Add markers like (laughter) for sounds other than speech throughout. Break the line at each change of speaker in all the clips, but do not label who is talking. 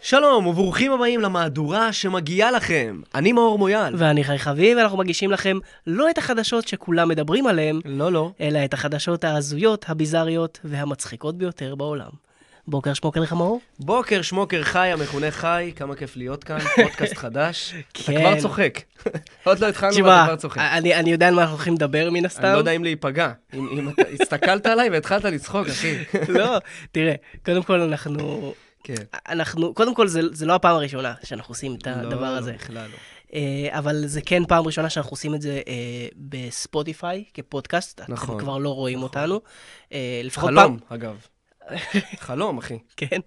שלום וברוכים הבאים למהדורה שמגיעה לכם. אני מאור מויאל.
ואני חי חביב, ואנחנו מגישים לכם לא את החדשות שכולם מדברים עליהן,
לא, לא.
אלא את החדשות ההזויות, הביזריות והמצחיקות ביותר בעולם. בוקר שמוקר לך מאור?
בוקר שמוקר חי, המכונה חי, כמה כיף להיות
(laughs)
כאן, פודקאסט חדש. אתה
כן.
כבר צוחק. (laughs) עוד לא התחלנו,
תשמע, אה,
ואתה כבר צוחק.
אני, אני יודע על מה אנחנו הולכים לדבר מן הסתם.
אני לא יודע אם להיפגע. אם אם אתה (laughs) הסתכלת עליי והתחלת לצחוק, אחי.
(laughs) (laughs) לא, תראה, קודם כל אנחנו...
כן.
אנחנו, קודם כל זה, זה לא הפעם הראשונה שאנחנו עושים את הדבר
לא,
הזה,
בכלל לא.
אה, אבל זה כן פעם ראשונה שאנחנו עושים את זה אה, בספוטיפיי כפודקאסט,
נכון,
אתם כבר לא רואים אותנו. אה, לפחות פעם,
חלום,
(laughs)
אגב. חלום, אחי.
כן.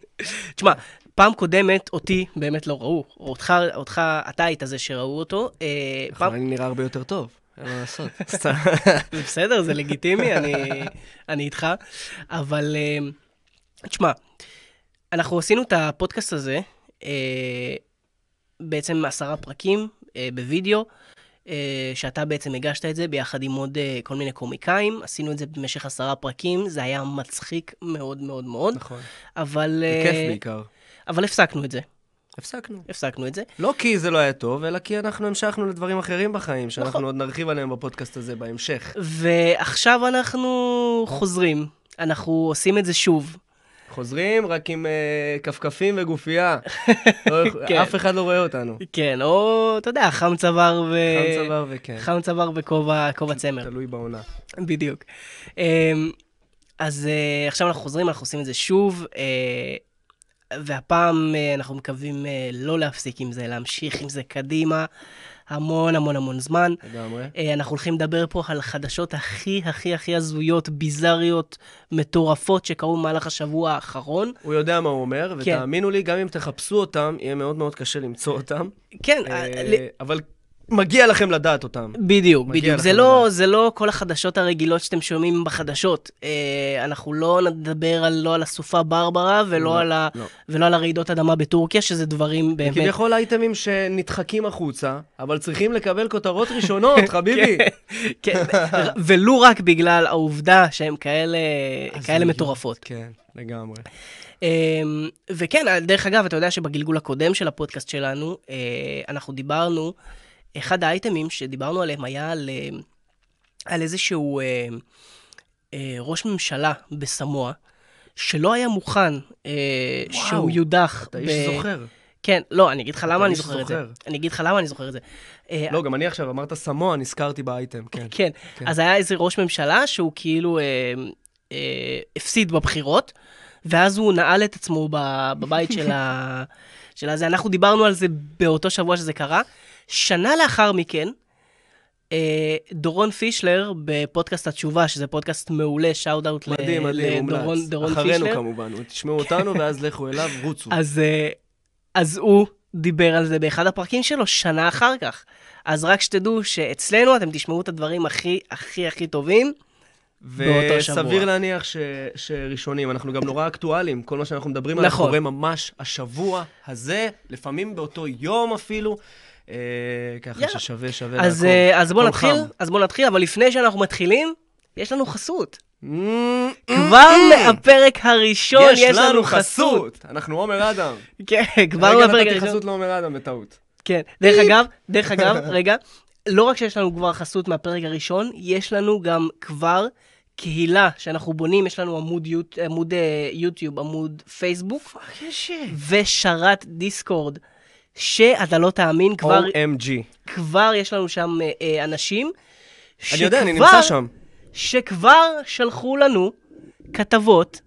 תשמע, פעם קודמת אותי באמת לא ראו. אותך, אותך, אתה היית זה שראו אותו. אה,
נכון,
פעם,
אני נראה הרבה יותר טוב. אין מה
(laughs)
לעשות. סתם.
זה (laughs) בסדר, זה לגיטימי, אני, אני איתך. אבל אה, תשמע, אנחנו עשינו את הפודקאסט הזה, אה, בעצם עשרה פרקים אה, בווידאו. אה, שאתה בעצם הגשת את זה ביחד עם עוד אה, כל מיני קומיקאים, עשינו את זה במשך עשרה פרקים, זה היה מצחיק מאוד מאוד מאוד,
נכון.
אבל, אה,
בכיף בעיקר.
אבל הפסקנו את זה.
הפסקנו.
הפסקנו את זה.
לא כי זה לא היה טוב, אלא כי אנחנו המשכנו לדברים אחרים בחיים, שאנחנו
נכון.
עוד נרחיב עליהם בפודקאסט הזה בהמשך.
ועכשיו אנחנו חוזרים, אנחנו עושים את זה שוב.
חוזרים רק עם אה, כפכפים וגופייה. לא יכול-
(laughs) כן.
אף אחד לא רואה אותנו.
כן, או, אתה יודע, חם צוואר ו...
חם צוואר כן. וכן,
אה, חם צוואר וכובע כובע צמר,
תלוי בעונה.
בדיוק. אמ, אז אה, עכשיו אנחנו חוזרים, אנחנו עושים את זה שוב, אה, והפעם אה, אנחנו מקווים אה, לא להפסיק עם זה, להמשיך עם זה קדימה המון המון המון זמן.
לגמרי.
אה, אנחנו הולכים לדבר פה על חדשות הכי הכי הכי הזויות, ביזריות, מטורפות, שקרו במהלך השבוע האחרון.
הוא יודע מה הוא אומר,
כן.
ותאמינו לי, גם אם תחפשו אותם, יהיה מאוד מאוד קשה למצוא אותם.
כן,
אה,
אה, ל-
אבל מגיע לכם לדעת אותם.
בדיוק,
מגיע
בדיוק. זה
לכם
לא,
לדעת.
זה לא כל החדשות הרגילות שאתם שומעים בחדשות. אה, אנחנו לא נדבר על, לא על הסופה ברברה
לא,
ולא, על ה,
לא.
ולא על הרעידות אדמה בטורקיה, שזה דברים באמת...
כביכול אייטמים שנדחקים החוצה, אבל צריכים לקבל כותרות
(laughs)
ראשונות, חביבי. (laughs)
כן, ולו רק בגלל העובדה שהן כאלה, כאלה מטורפות.
כן, לגמרי.
אמ, וכן, דרך אגב, אתה יודע שבגלגול הקודם של הפודקאסט שלנו, אה, אנחנו דיברנו, אחד האייטמים שדיברנו עליהם היה על, אה, על איזשהו אה, אה, ראש ממשלה בסמואה, שלא היה מוכן אה,
וואו,
שהוא יודח.
אתה איש זוכר.
כן, לא, אני אגיד לך למה אני
איש
זוכר את זה.
זוכר.
אני אגיד לך למה אני זוכר את זה. אה,
לא, גם אני עכשיו אמרת סמואה, נזכרתי באייטם, כן.
כן.
כן.
אז היה איזה ראש ממשלה שהוא כאילו אה, אה, הפסיד בבחירות, ואז הוא נעל את עצמו ב- בבית של ה...
(laughs)
של הזה. אנחנו דיברנו על זה באותו שבוע שזה קרה. שנה לאחר מכן, אה, דורון פישלר בפודקאסט התשובה, שזה פודקאסט מעולה, שאוט אאוט
מדהים, מדהים, מומלץ.
אה, דורון
אחרינו
פישלר.
כמובן, תשמעו אותנו ואז לכו אליו, רוצו.
אז, אה, אז הוא דיבר על זה באחד הפרקים שלו שנה אחר כך. אז רק שתדעו שאצלנו אתם תשמעו את הדברים הכי הכי הכי טובים. באותו שבוע.
וסביר להניח ש, שראשונים, אנחנו גם נורא אקטואליים, כל מה שאנחנו מדברים עליו
נכון.
קורה ממש השבוע הזה, לפעמים באותו יום אפילו, אה, ככה
יאללה.
ששווה שווה לעקוב.
אז, אה, אז בואו
כל
נתחיל,
חם.
אז בואו נתחיל, אבל לפני שאנחנו מתחילים, יש לנו חסות.
Mm. מ-
כבר מהפרק הראשון
mm. יש לנו חסות! אנחנו עומר אדם.
כן, כבר
רגע,
מהפרק
נתתי
הראשון.
חסות לעומר אדם בטעות.
כן. דרך
(laughs)
אגב, דרך אגב, רגע, לא רק שיש לנו כבר חסות מהפרק הראשון, יש לנו גם כבר קהילה שאנחנו בונים, יש לנו עמוד יוט- עמוד, אה, יוטיוב, עמוד פייסבוק, ושרת דיסקורד, שאתה לא תאמין, כבר,
OMG.
כבר יש לנו שם אה, אה, אנשים.
אני יודע, אני
שכבר-
נמצא שם.
שכבר שלחו לנו כתבות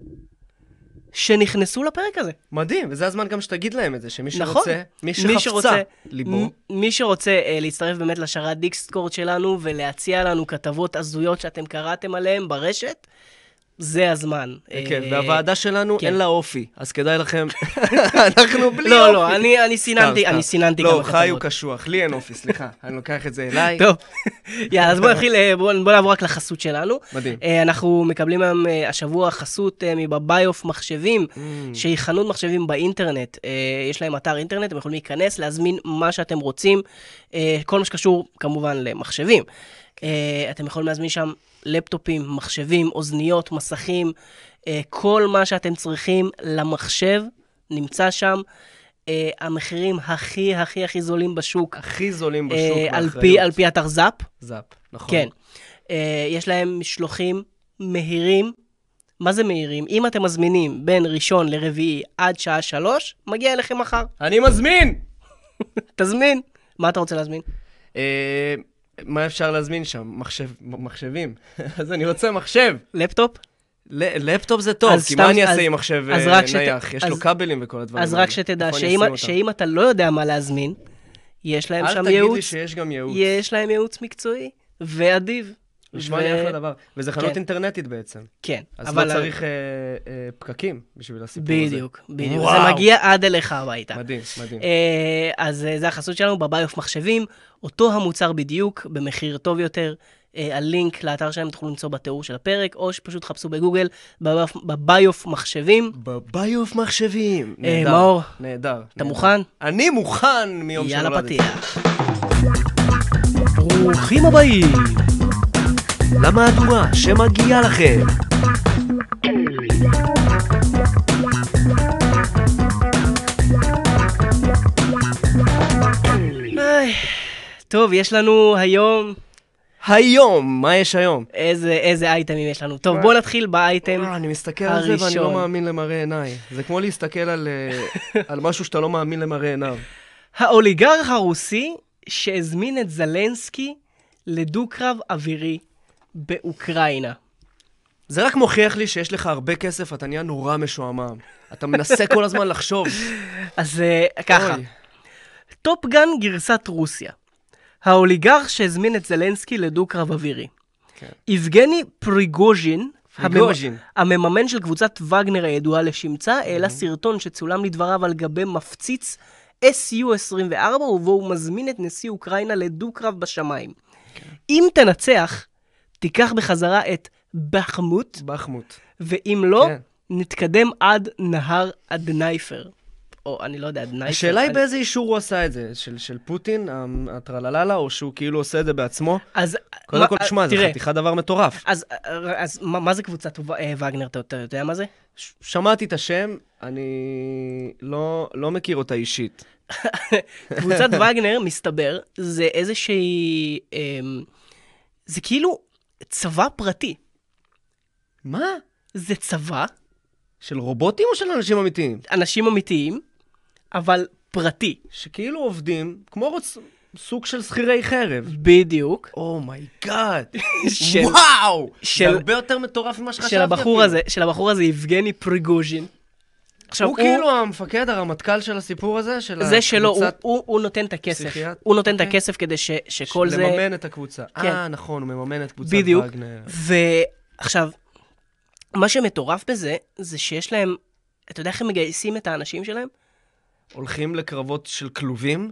שנכנסו לפרק הזה.
מדהים, וזה הזמן גם שתגיד להם את זה, שמי
נכון.
שרוצה, מי שחפצה
שרוצה-
ליבו,
מ- מי שרוצה אה, להצטרף באמת לשרת דיקסקורד שלנו ולהציע לנו כתבות הזויות שאתם קראתם עליהן ברשת, זה הזמן.
כן,
אה,
והוועדה שלנו
כן.
אין לה אופי, אז כדאי לכם, (laughs) אנחנו בלי אופי.
לא, לא, אני אני
סתם,
סיננתי,
סתם.
אני סיננתי
לא,
כמה
חי הוא
כתבות.
קשוח, לי אין אופי, (laughs) סליחה, אני לוקח את זה אליי.
טוב, (laughs) יאללה, אז בואו נתחיל, אה, בואו בואו נעבור רק לחסות שלנו.
מדהים.
אה, אנחנו מקבלים היום אה, השבוע חסות אה, מבביוף מחשבים.
Mm.
שהיא חנות מחשבים באינטרנט. אה, יש להם אתר אינטרנט, אתם יכולים להיכנס, להזמין מה שאתם רוצים, אה, כל מה שקשור כמובן למחשבים. אה, אתם יכולים להזמין שם לפטופים, מחשבים, אוזניות, מסכים, אה, כל מה שאתם צריכים למחשב נמצא שם. אה, המחירים הכי הכי הכי זולים בשוק,
הכי זולים בשוק
אה, על,
באחריות.
פי, על פי אתר זאפ,
זאפ, נכון.
כן. אה, יש להם משלוחים מהירים. מה זה מהירים? אם אתם מזמינים בין ראשון לרביעי עד שעה שלוש, מגיע אליכם מחר.
אני מזמין!
תזמין. מה אתה רוצה להזמין?
אה, מה אפשר להזמין שם? מחשב, מחשבים. (laughs) אז אני רוצה מחשב.
לפטופ?
ל- לפטופ זה טוב,
אז
כי
סתם-
מה אני אעשה
אז-
עם מחשב
אז
אה,
רק שת-
נייח? יש לו
אז-
כבלים וכל הדברים
אז
האלה.
רק שתדע
איפה אני
שאם,
אשים אותם?
שאם אתה לא יודע מה להזמין, יש להם שם
אל תגיד לי
ייעוץ,
שיש גם ייעוץ.
יש להם ייעוץ מקצועי, ואדיב.
נשמע
ו-
לי אחלה דבר. וזה חנות
כן.
אינטרנטית בעצם.
כן,
אז לא צריך אה, אה, פקקים בשביל הסיפור הזה.
בדיוק, בדיוק.
וואו.
זה מגיע עד אליך הביתה.
מדהים, מדהים.
אה, אז אה, זה החסות שלנו בביוף מחשבים, אותו המוצר בדיוק, במחיר טוב יותר. אה, הלינק לאתר שלהם תוכלו למצוא בתיאור של הפרק, או שפשוט חפשו בגוגל בביוף- בביוף מחשבים.
בביוף מחשבים.
אה,
נהדר,
מאור,
נהדר.
אתה
נהדר.
מוכן?
אני מוכן מיום שנולדתי.
יאללה פתיח. ברוכים הבאים.
למה הדורה שמגיעה לכם?
איי, טוב, יש לנו היום,
היום, מה יש היום?
איזה, איזה אייטמים יש לנו. טוב, בואו נתחיל באייטם.
אה, אני מסתכל על זה ואני לא
הראשון.
מאמין למראה עיניי. זה כמו להסתכל על, אה, על משהו שאתה לא מאמין למראה עיניו.
האוליגרך הרוסי שהזמין את זלנסקי לדו-קרב אווירי באוקראינה.
זה רק מוכיח לי שיש לך הרבה כסף, אתה נהיה נורא משועמם. אתה מנסה כל הזמן לחשוב.
אז אה, ככה,
אוי,
טופגן גרסת רוסיה. האוליגרך שהזמין את זלנסקי לדו-קרב אווירי.
כן.
יבגני פריגוז'ין, הממ-
פריגוז'ין. Mhm.
המממן של קבוצת וגנר הידועה לשמצה, העלה סרטון שצולם לדבריו על גבי מפציץ SU-24, ובו הוא מזמין את נשיא אוקראינה לדו-קרב בשמיים.
כן.
אם תנצח, תיקח בחזרה את בחמוט,
בחמוט.
ואם לא,
כן.
נתקדם עד נהר הדנייפר. או אני לא יודע, הדנייפר.
השאלה היא
אני-
באיזה אישור הוא עשה את זה, של, של פוטין, ה- הטרלללה, או שהוא כאילו עושה את זה בעצמו?
אז...
קודם
מה-
כל, תשמע, זה
תראה,
חתיכת דבר מטורף.
אז, אז מה, מה זה קבוצת ו- אה, וגנר? אתה, אתה יודע מה זה?
ש- שמעתי את השם, אני לא, לא מכיר אותה אישית.
קבוצת (laughs) וגנר, מסתבר, זה איזושהי... אמ, זה כאילו צבא פרטי.
מה?
זה צבא,
של רובוטים או של אנשים אמיתיים?
אנשים אמיתיים, אבל פרטי.
שכאילו עובדים כמו רוצ... סוג של שכירי חרב. (laughs)
בדיוק.
אומייגאד, (laughs)
של-
וואו!
של-
זה הרבה יותר מטורף ממה שחשבתי.
של הבחור
אפילו.
הזה, של הבחור הזה, יבגני פריגוז'ין. עכשיו,
הוא כאילו המפקד, הרמטכ"ל של הסיפור הזה, של
זה שלו, הוא,
הקבוצת-
הוא, הוא נותן את הכסף.
פסיכיאט-
הוא נותן את
אה, אוקיי.
הכסף כדי ש, שכל זה...
לממן את הקבוצה.
כן.
אה, נכון, הוא מממן את קבוצת
בדיוק.
וגנר.
ועכשיו, מה שמטורף בזה, זה שיש להם, אתה יודע איך הם מגייסים את האנשים שלהם?
הולכים לקרבות של כלובים?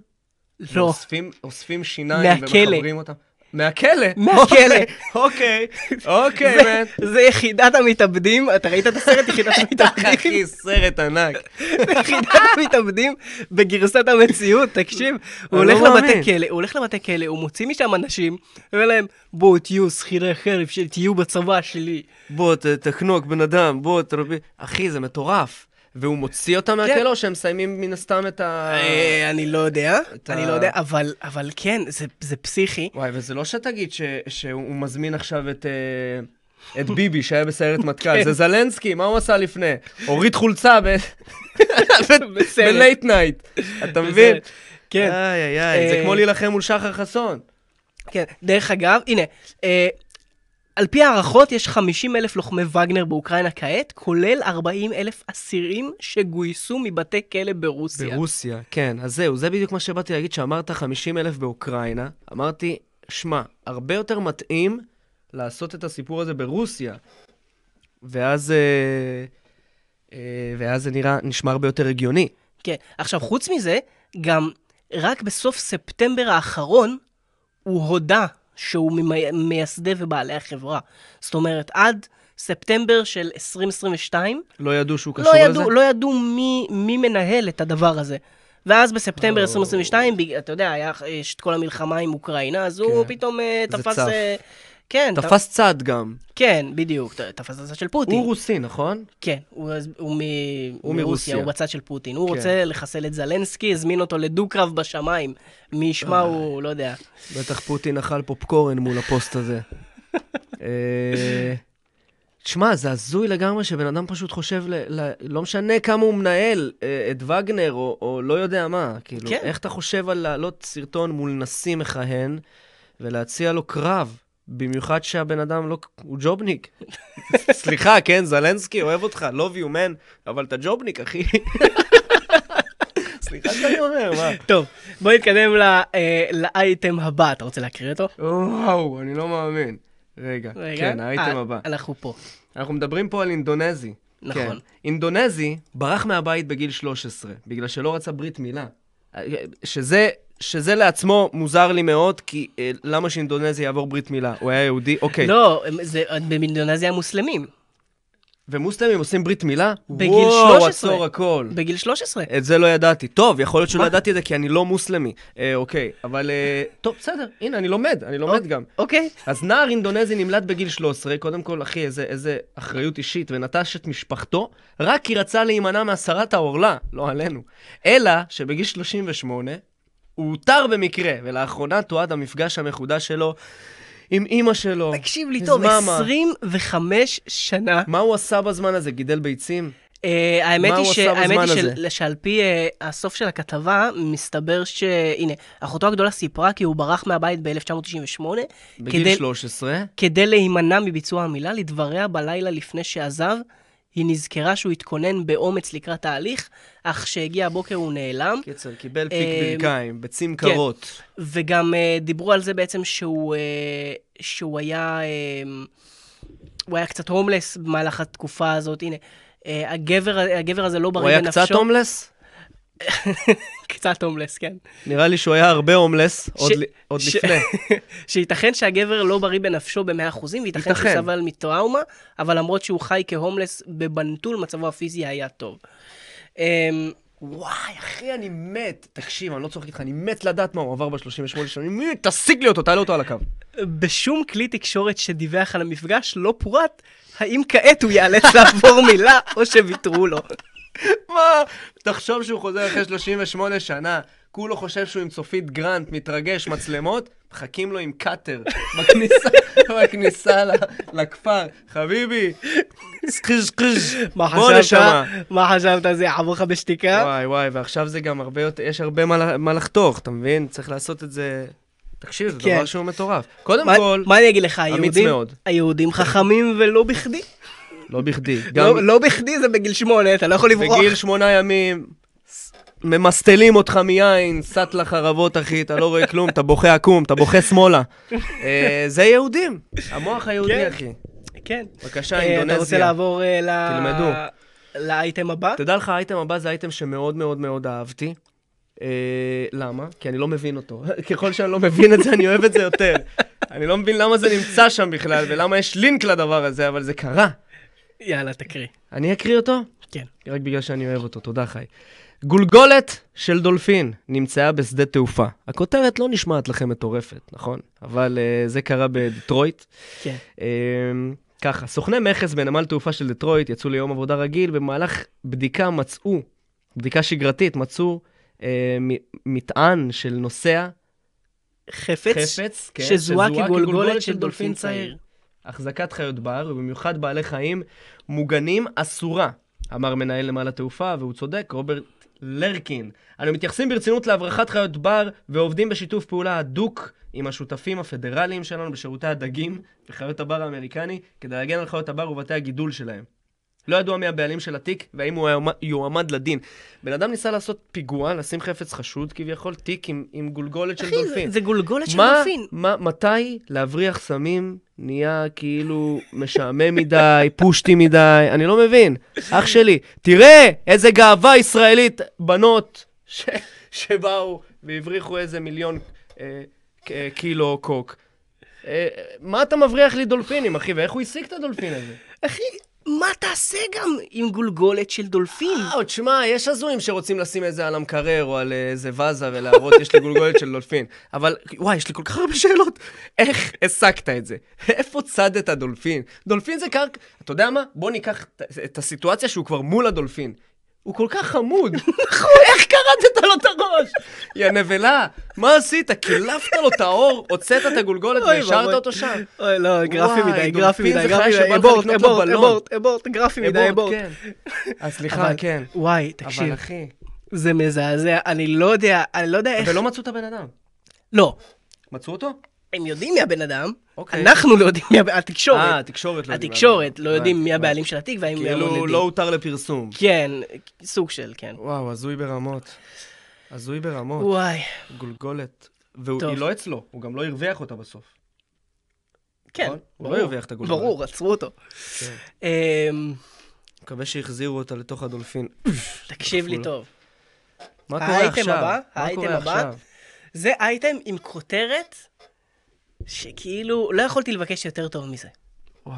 לא.
ואוספים- אוספים שיניים
מהכלא.
ומחברים אותם. מהכלא?
מהכלא.
אוקיי, אוקיי,
זה,
מן.
זה יחידת המתאבדים, אתה ראית את
(laughs)
הסרט יחידת
כן,
המתאבדים?
אחי, סרט ענק.
(laughs) יחידת המתאבדים בגרסת המציאות, תקשיב. הוא
אני לא
הולך
מאמין.
לבתי כלא, הוא הולך לבתי כלא, הוא מוציא משם אנשים, ואומר להם, בואו תהיו שכירי חרב, שתהיו בצבא שלי.
בוא, ת- תחנוק בן אדם, בוא, תרבי... אחי, זה מטורף. והוא מוציא אותם מהכלא, או שהם מסיימים מן הסתם את ה...
כן. אה, אני לא יודע,
אתה-
אני לא יודע, אבל- אבל כן, זה- זה (laughs) פסיכי.
וואי, וזה לא שתגיד ש- שהוא מזמין עכשיו את... אה, את ביבי שהיה בסיירת מטכ"ל,
כן.
זה זלנסקי, מה הוא עשה לפני? הוריד חולצה
(laughs)
ב-
בסרט.
בלייט נייט, אתה מבין?
בסרט. כן.
איי איי איי, זה
אה,
כמו להילחם מול שחר חסון.
כן, דרך אגב, הנה, אה, על פי הערכות יש 50 אלף לוחמי וגנר באוקראינה כעת, כולל 40 אלף אסירים שגויסו מבתי כלא ברוסיה.
ברוסיה, כן. אז זהו, זה בדיוק מה שבאתי להגיד, שאמרת 50 אלף באוקראינה. אמרתי, שמע, הרבה יותר מתאים לעשות את הסיפור הזה ברוסיה. ואז, אה, אה, ואז זה נראה, נשמע הרבה יותר הגיוני.
כן, עכשיו חוץ מזה, גם רק בסוף ספטמבר האחרון, הוא הודה שהוא ממי- מייסדי ובעלי החברה. זאת אומרת, עד ספטמבר של 2022,
לא ידעו שהוא קשור
לא
לזה?
ידעו, לא ידעו מי, מי מנהל את הדבר הזה. ואז בספטמבר
או.
2022, בג- אתה יודע, היה, יש את כל המלחמה עם אוקראינה, אז הוא
כן.
פתאום אה,
זה
תפס
צף.
אה, כן, אתה-
תפס צד גם.
כן, בדיוק, ת- תפס את הצד של פוטין.
הוא רוסי, נכון?
כן, הוא, אז- הוא, מ...
הוא
מרוסיה,
מרוסיה.
הוא בצד של פוטין. הוא
כן.
רוצה לחסל את זלנסקי, הזמין אותו לדו-קרב בשמיים. מי ישמע הוא, לא יודע.
בטח פוטין אכל פופקורן מול הפוסט
(laughs)
הזה. אה, תשמע, זה הזוי לגמרי שבן אדם פשוט חושב, ל, ל, לא משנה כמה הוא מנהל אה, את וגנר או, או לא יודע מה, כאילו,
כן.
כן. איך אתה חושב על להעלות סרטון מול נשיא מכהן ולהציע לו קרב, במיוחד שהבן אדם לא, הוא
(laughs)
ג'ובניק. סליחה, כן, זלנסקי, אוהב אותך, love you man, אבל אתה ג'ובניק,
(laughs)
אחי. סליחה שאני אומר, מה?
טוב, בוא נתקדם ל- אה, לאייטם הבא. אתה רוצה להקריא אותו?
וואו, אני לא מאמין. רגע,
רגע.
כן, האייטם
אה,
הבא.
אנחנו פה.
אנחנו מדברים פה על אינדונזי.
נכון.
כן. אינדונזי ברח מהבית בגיל 13, בגלל שלא רצה ברית מילה. שזה, שזה לעצמו מוזר לי מאוד, כי אה, למה שאינדונזי יעבור ברית מילה? הוא היה יהודי? אוקיי.
לא, זה באינדונזיה המוסלמים.
ומוסלמים עושים ברית מילה?
בגיל
וואו,
13.
עצור הכל.
בגיל 13.
את זה לא ידעתי. טוב, יכול להיות שלא ידעתי את זה כי אני לא מוסלמי. אה, אוקיי, אבל... אה, טוב, בסדר, הנה, אני לומד, אני לומד גם. אה,
אוקיי.
אז נער אינדונזי נמלט בגיל 13, קודם כל, אחי, איזה, איזה אחריות אישית, ונטש את משפחתו, רק כי רצה להימנע מהסרת העורלה, לא עלינו. אלא שבגיל 38, הוא הותר במקרה, ולאחרונה תועד המפגש המחודש שלו עם אימא שלו.
תקשיב לי
אז
טוב,
מה, מה?
25 שנה.
מה הוא עשה בזמן הזה? גידל ביצים?
אה, האמת
מה
היא,
הוא
ש...
עשה
האמת היא
בזמן
של... שעל פי אה, הסוף של הכתבה, מסתבר ש... הנה, אחותו הגדולה סיפרה כי הוא ברח מהבית ב-1998,
בגיל
כדי...
13?
כדי להימנע מביצוע המילה, לדבריה בלילה לפני שעזב, היא נזכרה שהוא התכונן באומץ לקראת ההליך, אך כשהגיע הבוקר הוא נעלם.
קיצר, קיבל פיק
אה,
ברכיים, ביצים
כן.
קרות.
וגם אה, דיברו על זה בעצם שהוא, אה, שהוא היה, אה, הוא היה קצת הומלס במהלך התקופה הזאת. הנה, אה, הגבר, הגבר הזה לא בריא
הוא היה
בנפשו.
קצת הומלס?
קצת הומלס, כן.
נראה לי שהוא היה הרבה הומלס, עוד
ש-
ל- עוד (laughs)
ש-
לפני.
שייתכן שהגבר לא בריא בנפשו ב-100%, וייתכן שהוא
ייתכן.
סבל מטראומה, אבל למרות שהוא חי כהומלס בבנטול, מצבו הפיזי היה טוב. אמ,
וואי, אחי, אני מת. תקשיב, אני לא צוחק איתך, אני מת לדעת מה הוא עבר ב-38 שנים. מי, תשיג לי אותו, תעלה אותו על הקו.
בשום כלי תקשורת שדיווח על המפגש לא פורט האם כעת הוא ייאלץ (laughs) לעבור מילה או שוויתרו לו.
(laughs) מה? תחשוב שהוא חוזר אחרי 38 שנה, כולו חושב שהוא עם צופית גרנט, מתרגש, מצלמות, מחכים לו עם קאטר (laughs) בכניסה, בכניסה ל- לכפר. חביבי, סקריז קריז,
מה
בוא
חשבת? אה?
נשמה.
מה חשבת? זה יעבור לך בשתיקה?
וואי וואי, ועכשיו זה גם הרבה יותר, יש הרבה מה ל- מה לחתוך, אתה מבין? צריך לעשות את זה... תקשיב, זה
כן.
דבר שהוא מטורף. קודם
מה-
כל,
מה אני אגיד לך,
אמיץ
היהודים,
מאוד.
היהודים חכמים ולא בכדי.
לא בכדי. גם-
לא לא בכדי זה בגיל שמונה, אתה לא יכול לברוח.
בגיל שמונה ימים, ס- ממסטלים אותך מיין, סט לחרבות, אחי, אתה לא רואה כלום, אתה בוכה עקום, אתה בוכה שמאלה. אה, זה יהודים, המוח
כן.
היהודי, אחי.
כן.
בבקשה,
אה, אתה רוצה
אינדונזיה.
לעבור אה, ל...
תלמדו.
לאייטם הבא?
תדע לך, האייטם הבא זה אייטם שמאוד מאוד מאוד אהבתי. אה, למה? כי אני לא מבין אותו. (laughs) ככל שאני לא מבין את זה, אני אוהב את זה יותר. אני לא מבין למה זה נמצא שם בכלל, ולמה יש לינק לדבר הזה, אבל זה קרה.
יאללה, תקריא.
אני אקריא אותו?
כן.
רק בגלל שאני אוהב אותו, תודה חי. גולגולת של דולפין נמצאה בשדה תעופה. הכותרת לא נשמעת לכם מטורפת, נכון? אבל uh, זה קרה בדטרויט.
כן.
Um, ככה, סוכני מכס בנמל תעופה של דטרויט יצאו ליום עבודה רגיל, במהלך בדיקה מצאו, בדיקה שגרתית, מצאו uh, מ- מטען של נוסע
חפץ?
חפץ, כן,
שזוהה כגולגולת של דולפין צעיר.
החזקת חיות בר, ובמיוחד בעלי חיים מוגנים, אסורה, אמר מנהל נמל התעופה, והוא צודק, רוברט לרקין. אנו מתייחסים ברצינות להברחת חיות בר, ועובדים בשיתוף פעולה הדוק עם השותפים הפדרליים שלנו בשירותי הדגים וחיות הבר האמריקני, כדי להגן על חיות הבר ובתי הגידול שלהם. לא ידוע מי הבעלים של התיק, והאם הוא יועמד- יועמד לדין. בן אדם ניסה לעשות פיגוע, לשים חפץ חשוד כביכול, תיק עם, עם גולגולת של
אחי, זה-
דולפין.
זה גולגולת של
מה-
דולפין.
מה, מתי להבריח סמים נהיה כאילו משעמם מדי, פושטי מדי, אני לא מבין. אח שלי, תראה איזה גאווה ישראלית, בנות ש, שבאו והבריחו איזה מיליון אה, ק- אה, קילו קוק. אה, מה אתה מבריח לי דולפינים, אחי, ואיך הוא השיג את הדולפין הזה?
אחי, מה תעשה גם עם גולגולת של דולפין?
וואו, תשמע, יש הזויים שרוצים לשים את זה על המקרר או על איזה ואזה ולהראות יש לי גולגולת של דולפין. אבל, וואי, יש לי כל כך הרבה שאלות. איך הסקת את זה? איפה צדת דולפין? דולפין זה קרק... אתה יודע מה? בוא ניקח ת- את הסיטואציה שהוא כבר מול הדולפין. הוא כל כך חמוד. נכון. איך כרתת לו את הראש? יא נבלה, מה עשית? קילפת לו את האור, הוצאת את הגולגולת
אוי
והשארת
ואבוי.
אותו שם.
אוי, לא, גרפי
וואי,
מדי, גרפי
דולפין
מדי,
זה
גרפי
חיה שבא
מדי,
לך
אבורט,
לקנות לו
אבורט,
בלון.
אבורט, אבורט, גרפי מדי,
אבורט,
אבורט.
כן. אז סליחה,
אבל-
כן.
וואי,
אבל
תקשיב,
אחי,
זה מזעזע, אני לא יודע, אני לא יודע איך...
ולא מצאו את הבן אדם.
לא,
מצאו אותו?
הם יודעים מי הבן אדם,
אוקיי.
אנחנו לא יודעים מי הבן...
אה,
התקשורת.
התקשורת לא יודעים.
התקשורת לא
הבנתי,
יודעים מי
הבנתי.
הבעלים של התיק והאם הם
אה, כאילו לא הותר לפרסום.
כן, סוג של, כן.
וואו, הזוי ברמות. הזוי ברמות.
וואי.
גולגולת. והיא
טוב.
לא אצלו, הוא גם לא הרוויח אותה בסוף.
כן,
נכון? הוא לא
ברור.
הרוויח את הגולגולת.
ברור, עצרו אותו.
כן.
אמ,
מקווה שהחזירו אותה לתוך הדולפין.
תקשיב לי
כפול.
טוב.
מה קורה
האייטם
עכשיו?
הבא,
מה
האייטם
קורה
הבא.
עכשיו?
זה אייטם עם כותרת שכאילו לא יכולתי לבקש יותר טוב מזה.
וואו.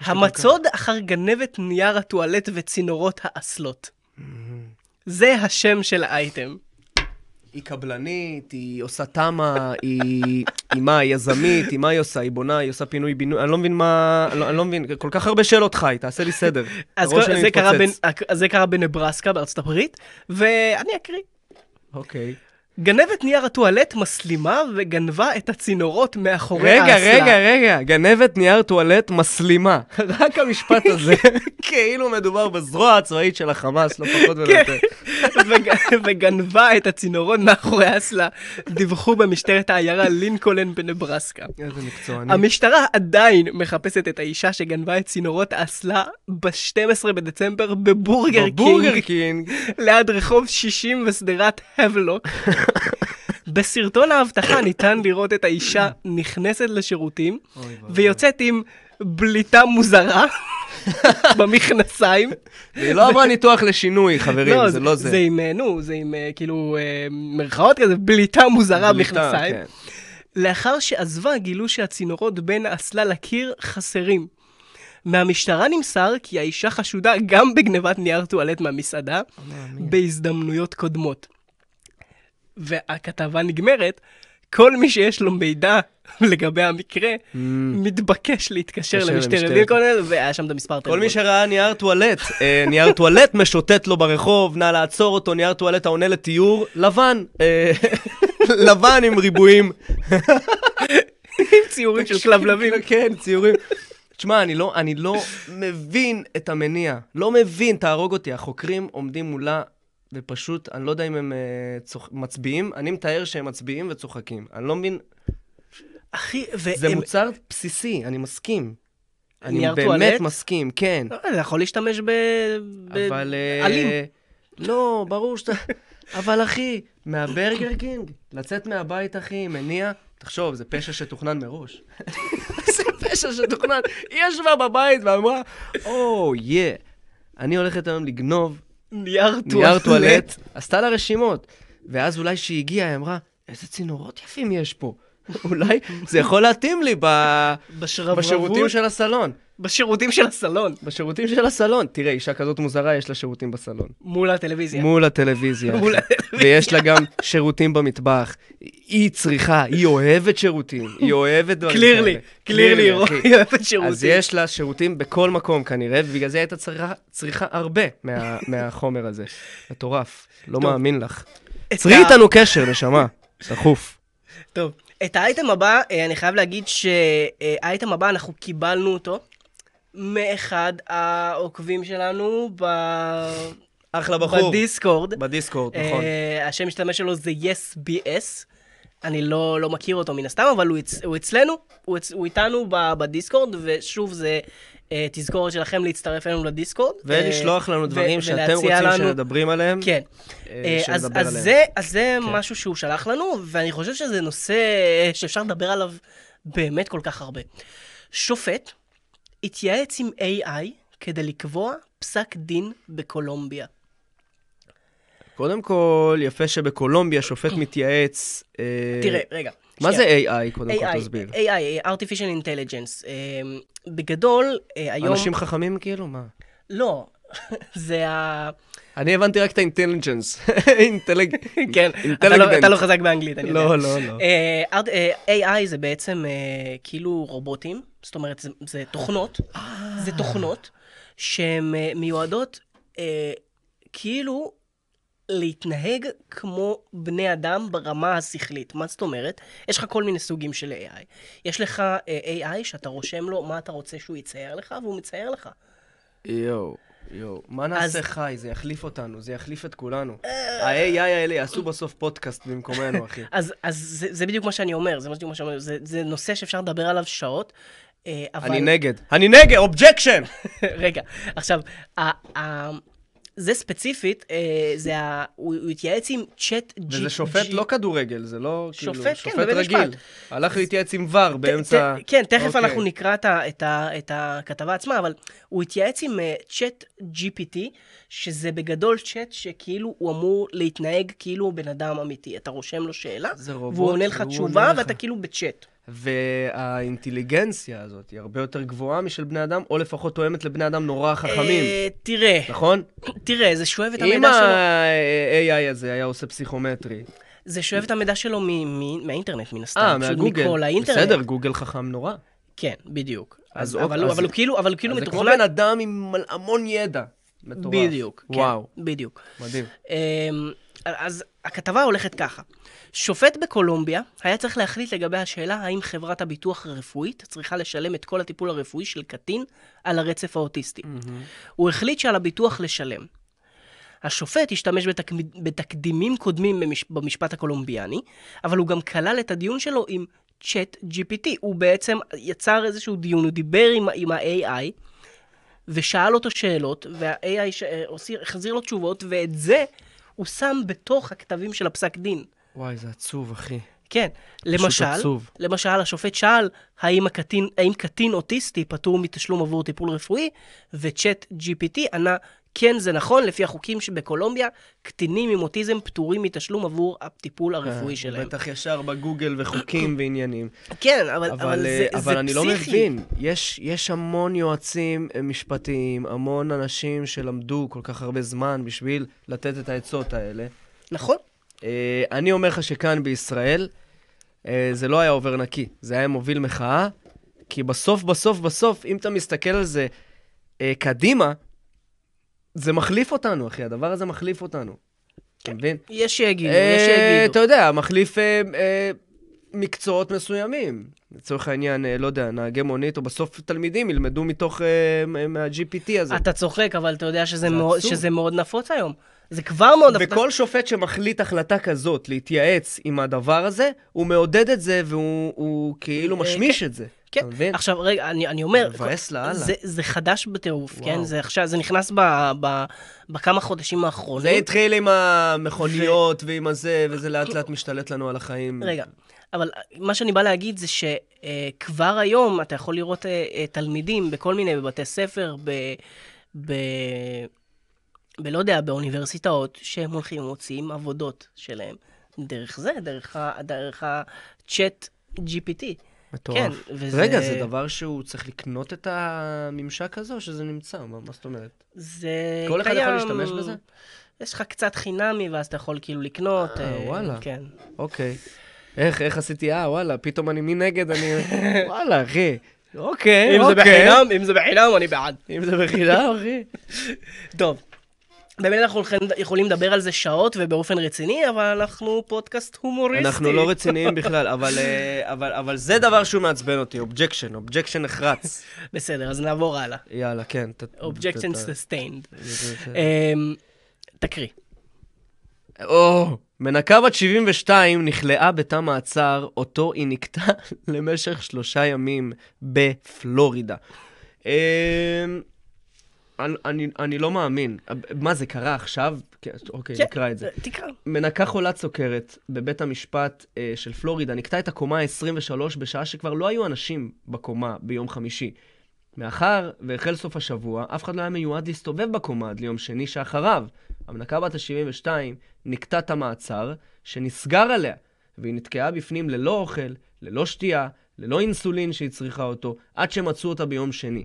המצוד אחר גנבת נייר הטואלט וצינורות האסלות. זה השם של האייטם.
היא קבלנית, היא עושה תמה, היא... היא מה, היא יזמית, היא מה היא עושה? היא בונה, היא עושה פינוי-בינוי, אני לא מבין מה... אני לא- אני לא מבין, כל כך הרבה שאלות חי, תעשה לי סדר.
אז
הראש
כל-
שלי
זה קרה
מתפוצץ.
בנ- הק- אז זה קרה בנברסקה בארצות הברית, ואני אקריא.
אוקיי.
גנבת נייר הטואלט מסלימה וגנבה את הצינורות מאחורי
רגע,
האסלה.
רגע, רגע, גנבת נייר טואלט מסלימה. (laughs) רק המשפט הזה, (laughs) כאילו מדובר בזרוע הצבאית של החמאס, לא פחות ולא יותר.
(laughs) וג- וגנבה את הצינורות מאחורי האסלה, דיווחו במשטרת העיירה לינקולן בנברסקה.
איזה מקצועני.
המשטרה עדיין מחפשת את האישה שגנבה את צינורות האסלה ב-12 בדצמבר בבורגר
בורגר
קינג,
קינג.
ליד רחוב 60 ושדרת הבלוק. בסרטון האבטחה ניתן לראות את האישה נכנסת לשירותים ויוצאת עם בליטה
(laughs)
מוזרה במכנסיים.
היא לא עברה ניתוח לשינוי, חברים, זה לא
זה
זה.
עם, אה, נו, זה עם אה, כאילו אה, מרכאות כזה, בליטה מוזרה
בליטה,
במכנסיים.
כן.
לאחר שעזבה גילו שהצינורות בין האסלה לקיר חסרים. מהמשטרה נמסר כי האישה חשודה גם בגנבת נייר טואלט מהמסעדה בהזדמנויות קודמות. והכתבה נגמרת, כל מי שיש לו מידע (laughs) לגבי המקרה,
Mm,
מתבקש להתקשר
מתקשר
למשטרת
למשטרת.
לינקולן, והיה שם את המספר
כל
טלפון.
מי שראה נייר טואלט, אה, נייר טואלט משוטט לו ברחוב, נא לעצור אותו, נייר טואלט העונה לתיאור, לבן. אה, (laughs) לבן עם ריבועים.
עם ציורים (laughs) של כלבלבים.
כן, ציורים. תשמע, אני לא, אני לא מבין את המניע. לא מבין, תהרוג אותי. החוקרים עומדים מולה, ופשוט, אני לא יודע אם הם אה, צוח... מצביעים, אני מתאר שהם מצביעים וצוחקים. אני לא מבין,
אחי,
זה
והם...
מוצר בסיסי, אני מסכים. אני
אה, נייר
באמת
טואלט?
מסכים, כן.
לא, אתה יכול להשתמש ב... ב-
אבל... אה,
אלים. (laughs)
לא, ברור שאתה... אבל אחי, מהברגר קינג, לצאת מהבית, אחי, מניע, תחשוב, זה פשע שתוכנן מראש. זה פשע שתוכנן. היא ישבה בבית ואמרה, או, יא, אני הולכת היום לגנוב
נייר
נייר טואלט, עשתה לה רשימות. ואז אולי כשהיא הגיעה, היא אמרה, איזה צינורות יפים יש פה. (laughs) אולי זה יכול להתאים לי ב-
בשרברבות.
בשירותים של הסלון.
בשירותים של הסלון,
בשירותים של הסלון. תראה, אישה כזאת מוזרה, יש לה שירותים בסלון.
מול הטלוויזיה.
מול הטלוויזיה.
מול
אחי. ויש לה גם שירותים במטבח. היא צריכה, היא אוהבת שירותים, היא אוהבת דברים כן.
קלירלי, קלירלי,
אחי.
היא אוהבת שירותים.
אוקיי, אז יש לה שירותים בכל מקום כנראה, ובגלל זה היא הייתה צריכה- צריכה הרבה מה- (laughs) מהחומר הזה. מטורף, לא
טוב.
מאמין לך.
את
צרי
ה-
איתנו קשר, נשמה. דחוף.
טוב, את האייטם הבא, אה, אני חייב להגיד שהאייטם הבא, אנחנו קיבלנו אותו מאחד העוקבים שלנו ב...
אחלה
בדיסקורד.
בדיסקורד, נכון.
אה, השם משתמש שלו זה YesBS. אני לא, לא מכיר אותו מן הסתם, אבל הוא, אצ, הוא אצלנו, הוא, אצ, הוא איתנו ב, בדיסקורד, ושוב, זה אה, תזכורת שלכם להצטרף אלינו לדיסקורד. אה,
ולשלוח לנו
ו-
דברים שאתם
ולהציע
רוצים
לנו-
שנדברים עליהם.
כן.
אה,
אה, אז,
שנדבר
אז,
עליהם.
זה, אז זה
כן.
משהו שהוא שלח לנו, ואני חושב שזה נושא אה, שאפשר לדבר עליו באמת כל כך הרבה. שופט התייעץ עם AI כדי לקבוע פסק דין בקולומביה.
קודם כל, יפה שבקולומביה שופט מתייעץ. אה,
תראה, רגע.
מה זה
שנייה.
AI, קודם כל
AI,
תסביר?
AI, אה, artificial intelligence. אמ, בגדול, אה, היום...
אנשים חכמים כאילו? מה?
לא. (laughs)
(laughs)
זה ה...
אני הבנתי רק את האינטליג'נס. (laughs)
כן, אתה לא- אתה לא חזק באנגלית, אני יודע.
לא, לא, לא.
אה, ארט- אה, AI זה בעצם אה, כאילו רובוטים, זאת אומרת, זה- זה תוכנות, זה תוכנות שהן אה, מיועדות אה, כאילו להתנהג כמו בני אדם ברמה השכלית. מה זאת אומרת? יש לך כל מיני סוגים של AI. יש לך אה, AI שאתה רושם לו מה אתה רוצה שהוא יצייר לך, והוא מצייר לך.
יואו, יואו. מה נעשה
אז- אה.
חי? זה יחליף אותנו, זה יחליף את כולנו. אה, ה-AI האלה יעשו בסוף פודקאסט במקומנו,
(laughs)
אחי.
אז, אז זה, זה בדיוק מה שאני אומר, זה בדיוק מה שאני אומר, זה, זה נושא שאפשר לדבר עליו שעות, אה, אבל...
אני נגד. אני נגד, אובג'קשן!
(laughs) רגע, עכשיו, ה, ה, זה ספציפית, אה, זה ה, הוא, הוא התייעץ עם צ'אט ג'י...
וזה שופט לא כדורגל, זה לא כאילו,
שופט, כן,
שופט
בבית
רגיל.
משפט.
הלך להתייעץ עם ור באמצע...
כן, תכף
אוקיי.
אנחנו נקרא את, ה, את, ה, את הכתבה עצמה, אבל הוא התייעץ עם אה, צ'אט GPT, שזה בגדול צ'אט שכאילו הוא אמור להתנהג כאילו הוא בן אדם אמיתי. אתה רושם לו שאלה,
זה רובוט,
והוא עונה לך
והוא
תשובה,
עונה לך.
ואתה כאילו בצ'אט.
והאינטליגנציה הזאת היא הרבה יותר גבוהה משל בני אדם, או לפחות תואמת לבני אדם נורא חכמים,
אה, תראה,
נכון?
תראה, זה שואב את
אם
המידע שלו,
ה-AI הזה היה עושה פסיכומטרי,
זה שואב את המידע שלו מ- מ- מהאינטרנט, מן הסתם.
אה,
פשוט
מהגוגל,
מכל האינטרנט.
בסדר, גוגל חכם נורא.
כן, בדיוק.
אז
אז,
אוקיי,
אבל, הוא-
אז-
אבל הוא כאילו, אבל הוא כאילו
אז זה כמו
מתוכנן...
בן אדם עם מל- המון ידע. מטורף.
בדיוק. כן,
וואו,
בדיוק.
מדהים.
אמ, אז הכתבה הולכת ככה. שופט בקולומביה היה צריך להחליט לגבי השאלה האם חברת הביטוח הרפואית צריכה לשלם את כל הטיפול הרפואי של קטין על הרצף האוטיסטי. הוא החליט שעל הביטוח לשלם. השופט השתמש בתקמ- בתקדימים קודמים במש... במשפט הקולומביאני, אבל הוא גם כלל את הדיון שלו עם צ'אט GPT. הוא בעצם יצר איזשהו דיון, הוא דיבר עם, ה- עם ה-AI, ושאל אותו שאלות, וה-AI ש... אה, הוסיר- החזיר לו תשובות, ואת זה הוא שם בתוך הכתבים של הפסק דין.
וואי, זה עצוב, אחי.
כן, למשל,
עצוב.
למשל, השופט שאל האם, הקטין, האם קטין אוטיסטי פטור מתשלום עבור טיפול רפואי, וצ'אט GPT ענה, כן, זה נכון, לפי החוקים שבקולומביה, קטינים עם אוטיזם פטורים מתשלום עבור הטיפול הרפואי
אה,
שלהם.
בטח ישר בגוגל
(coughs)
וחוקים ועניינים.
כן, אבל, אבל,
אבל,
זה,
אה,
זה
אבל אני לא
פסיכי.
מבין, יש, יש המון יועצים אה, משפטיים, המון אנשים שלמדו כל כך הרבה זמן בשביל לתת את העצות האלה.
נכון?
אה, אני אומר לך שכאן בישראל, אה, זה לא היה עובר נקי, זה היה מוביל מחאה, כי בסוף, בסוף, בסוף, אם אתה מסתכל על זה אה, קדימה, זה מחליף אותנו, אחי, הדבר הזה מחליף אותנו. אתה מבין?
יש שיגידו,
אה,
כן. יש שיגידו.
אתה יודע, מחליף אה, אה, מקצועות מסוימים. לצורך העניין, אה, לא יודע, נהגי מונית, או בסוף תלמידים ילמדו מתוך, אה, מה- מה-GPT הזה.
אתה צוחק, אבל אתה יודע שזה,
זה
מאוד,
עצוב.
שזה מאוד נפוץ היום. זה כבר מאוד נפוץ.
וכל שופט שמחליט החלטה כזאת, להתייעץ עם הדבר הזה, הוא מעודד את זה, והוא הוא כאילו
אה,
משמיש את זה.
כן.
אתה מבין?
עכשיו, רגע, אני, אני אומר...
מבאס לאללה.
זה, זה חדש בטירוף,
וואו.
כן? זה עכשיו, זה נכנס ב, ב, בכמה חודשים האחרונים.
זה התחיל עם המכוניות ועם הזה, וזה לאט לאט משתלט לנו על החיים.
לא. רגע, אבל מה שאני בא להגיד זה שכבר היום אתה יכול לראות אה, אה, תלמידים בכל מיני, בבתי ספר, ב... ב... בלא יודע, באוניברסיטאות, שהם הולכים ומוציאים עבודות שלהם. דרך זה, דרך, ה- דרך ה-chat GPT.
מטורף.
כן, וזה-
רגע, זה דבר שהוא צריך לקנות את הממשק הזה, או שזה נמצא? מה מה זאת אומרת?
זה
כל אחד יכול
קיים-
להשתמש בזה?
יש לך קצת חינמי, ואז אתה יכול כאילו לקנות.
אה,
אה,
וואלה.
כן.
אוקיי. איך, איך עשיתי, אה, וואלה, פתאום אני מנגד, אני...
(laughs)
וואלה, אחי. אוקיי,
אם זה
אוקיי.
בחינם, אם זה בחינם, אני בעד.
אם זה בחינם, אחי.
(laughs) טוב. באמת אנחנו יכולים- יכולים לדבר על זה שעות ובאופן רציני, אבל אנחנו פודקאסט הומוריסטי.
אנחנו לא רציניים בכלל, אבל, אה, אבל, אבל זה דבר שהוא מעצבן אותי, אובג'קשן, אובג'קשן נחרץ.
בסדר, אז נעבור הלאה.
יאללה, כן. ת- ת-
Objection
ת-
sustained.
ת- ת-
אמ, תקריא.
או, מנקה בת 72 נכלאה בתא מעצר, אותו היא נקטה (laughs) למשך שלושה ימים בפלורידה. אמ, אני- אני אני לא מאמין. מה, זה קרה עכשיו? כן, אוקיי,
כן,
נקרא את זה.
תקרא.
מנקה חולת סוכרת בבית המשפט אה, של פלורידה נקטה את הקומה ה-23 בשעה שכבר לא היו אנשים בקומה ביום חמישי. מאחר והחל סוף השבוע, אף אחד לא היה מיועד להסתובב בקומה עד ליום שני שאחריו. המנקה בת ה-72 נקטה את המעצר שנסגר עליה והיא נתקעה בפנים ללא אוכל, ללא שתייה, ללא אינסולין שהיא צריכה אותו, עד שמצאו אותה ביום שני.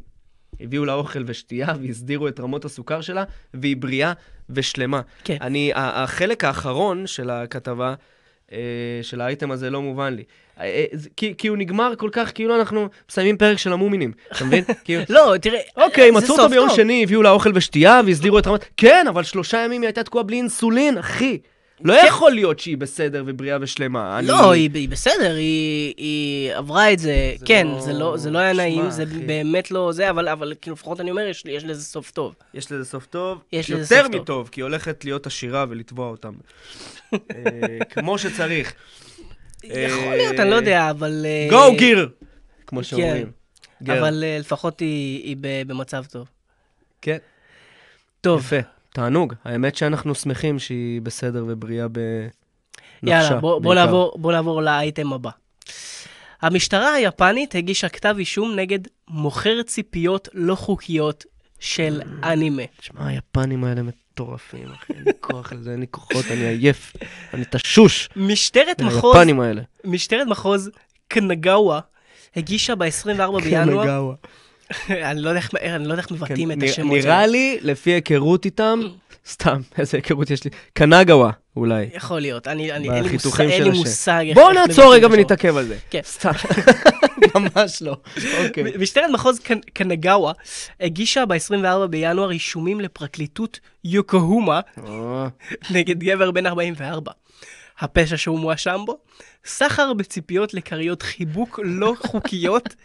הביאו לה אוכל ושתייה והסדירו את רמות הסוכר שלה, והיא בריאה ושלמה.
כן.
אני, ה- החלק האחרון של הכתבה, אה, של האייטם הזה, לא מובן לי. אה, אה, זה- כי, כי הוא נגמר כל כך, כאילו אנחנו מסיימים פרק של המומינים, אתה
(laughs)
מבין? כאילו,
לא, תראה,
אוקיי,
זה
מצאו
סוף
אותה ביום
טוב.
שני, הביאו לה אוכל ושתייה והסדירו את רמת... כן, אבל שלושה ימים היא הייתה תקועה בלי אינסולין, אחי. לא יכול להיות שהיא בסדר ובריאה ושלמה. אני-
כן. לא, היא, היא בסדר, היא, היא עברה את זה,
זה
כן,
לא-
זה, לא, זה לא היה
שמע,
נעים, זה
אחי.
באמת לא זה, אבל, אבל כאילו לפחות אני אומר, יש, יש לזה סוף טוב.
יש לזה סוף טוב.
יש לזה סוף
יותר
טוב.
מטוב, כי היא הולכת להיות עשירה ולתבוע
(laughs)
אותם. אה, כמו שצריך. אה,
יכול להיות, אני לא יודע, אבל... אה,
גו גיר! כמו
כן.
שאומרים. גר.
אבל אה, לפחות היא, היא ב- במצב טוב.
כן.
טוב,
יפה. תענוג. האמת שאנחנו שמחים שהיא בסדר ובריאה בנפשה.
יאללה, בוא, בוא,
בעיקר.
לעבור, בוא לעבור לאייטם הבא. המשטרה היפנית הגישה כתב אישום נגד מוכר ציפיות לא חוקיות של אנימה.
שמע, היפנים האלה מטורפים, אחי. אין לי כוח לזה, אין לי כוחות, אני עייף. אני תשוש.
משטרת
אה,
מחוז,
היפנים האלה.
משטרת מחוז קנגאווה הגישה ב-24
כן,
בינואר, אני לא יודע איך- אני לא יודע איך מבטאים את
נרא-
השמות
כן, נראה
שלהם.
לי, לפי היכרות איתם, סתם, (laughs) איזה היכרות יש לי? קנגאווה, אולי.
יכול להיות, אני, אני, אין לי מושג,
בחיתוכים
אין
של
לי
השם.
מושג. איך-
בואו
איך
נעצור רגע
מבטאים את השמות.
ונתעכב על
(laughs)
זה.
כן.
סתם. ממש לא.
(laughs)
אוקיי.
משטרת מחוז קנ- קנגאווה הגישה ב-24 בינואר אישומים לפרקליטות יוקוהומה נגד גבר בן 44. הפשע שהוא מואשם בו, סחר בציפיות לכריות חיבוק
(laughs)
לא חוקיות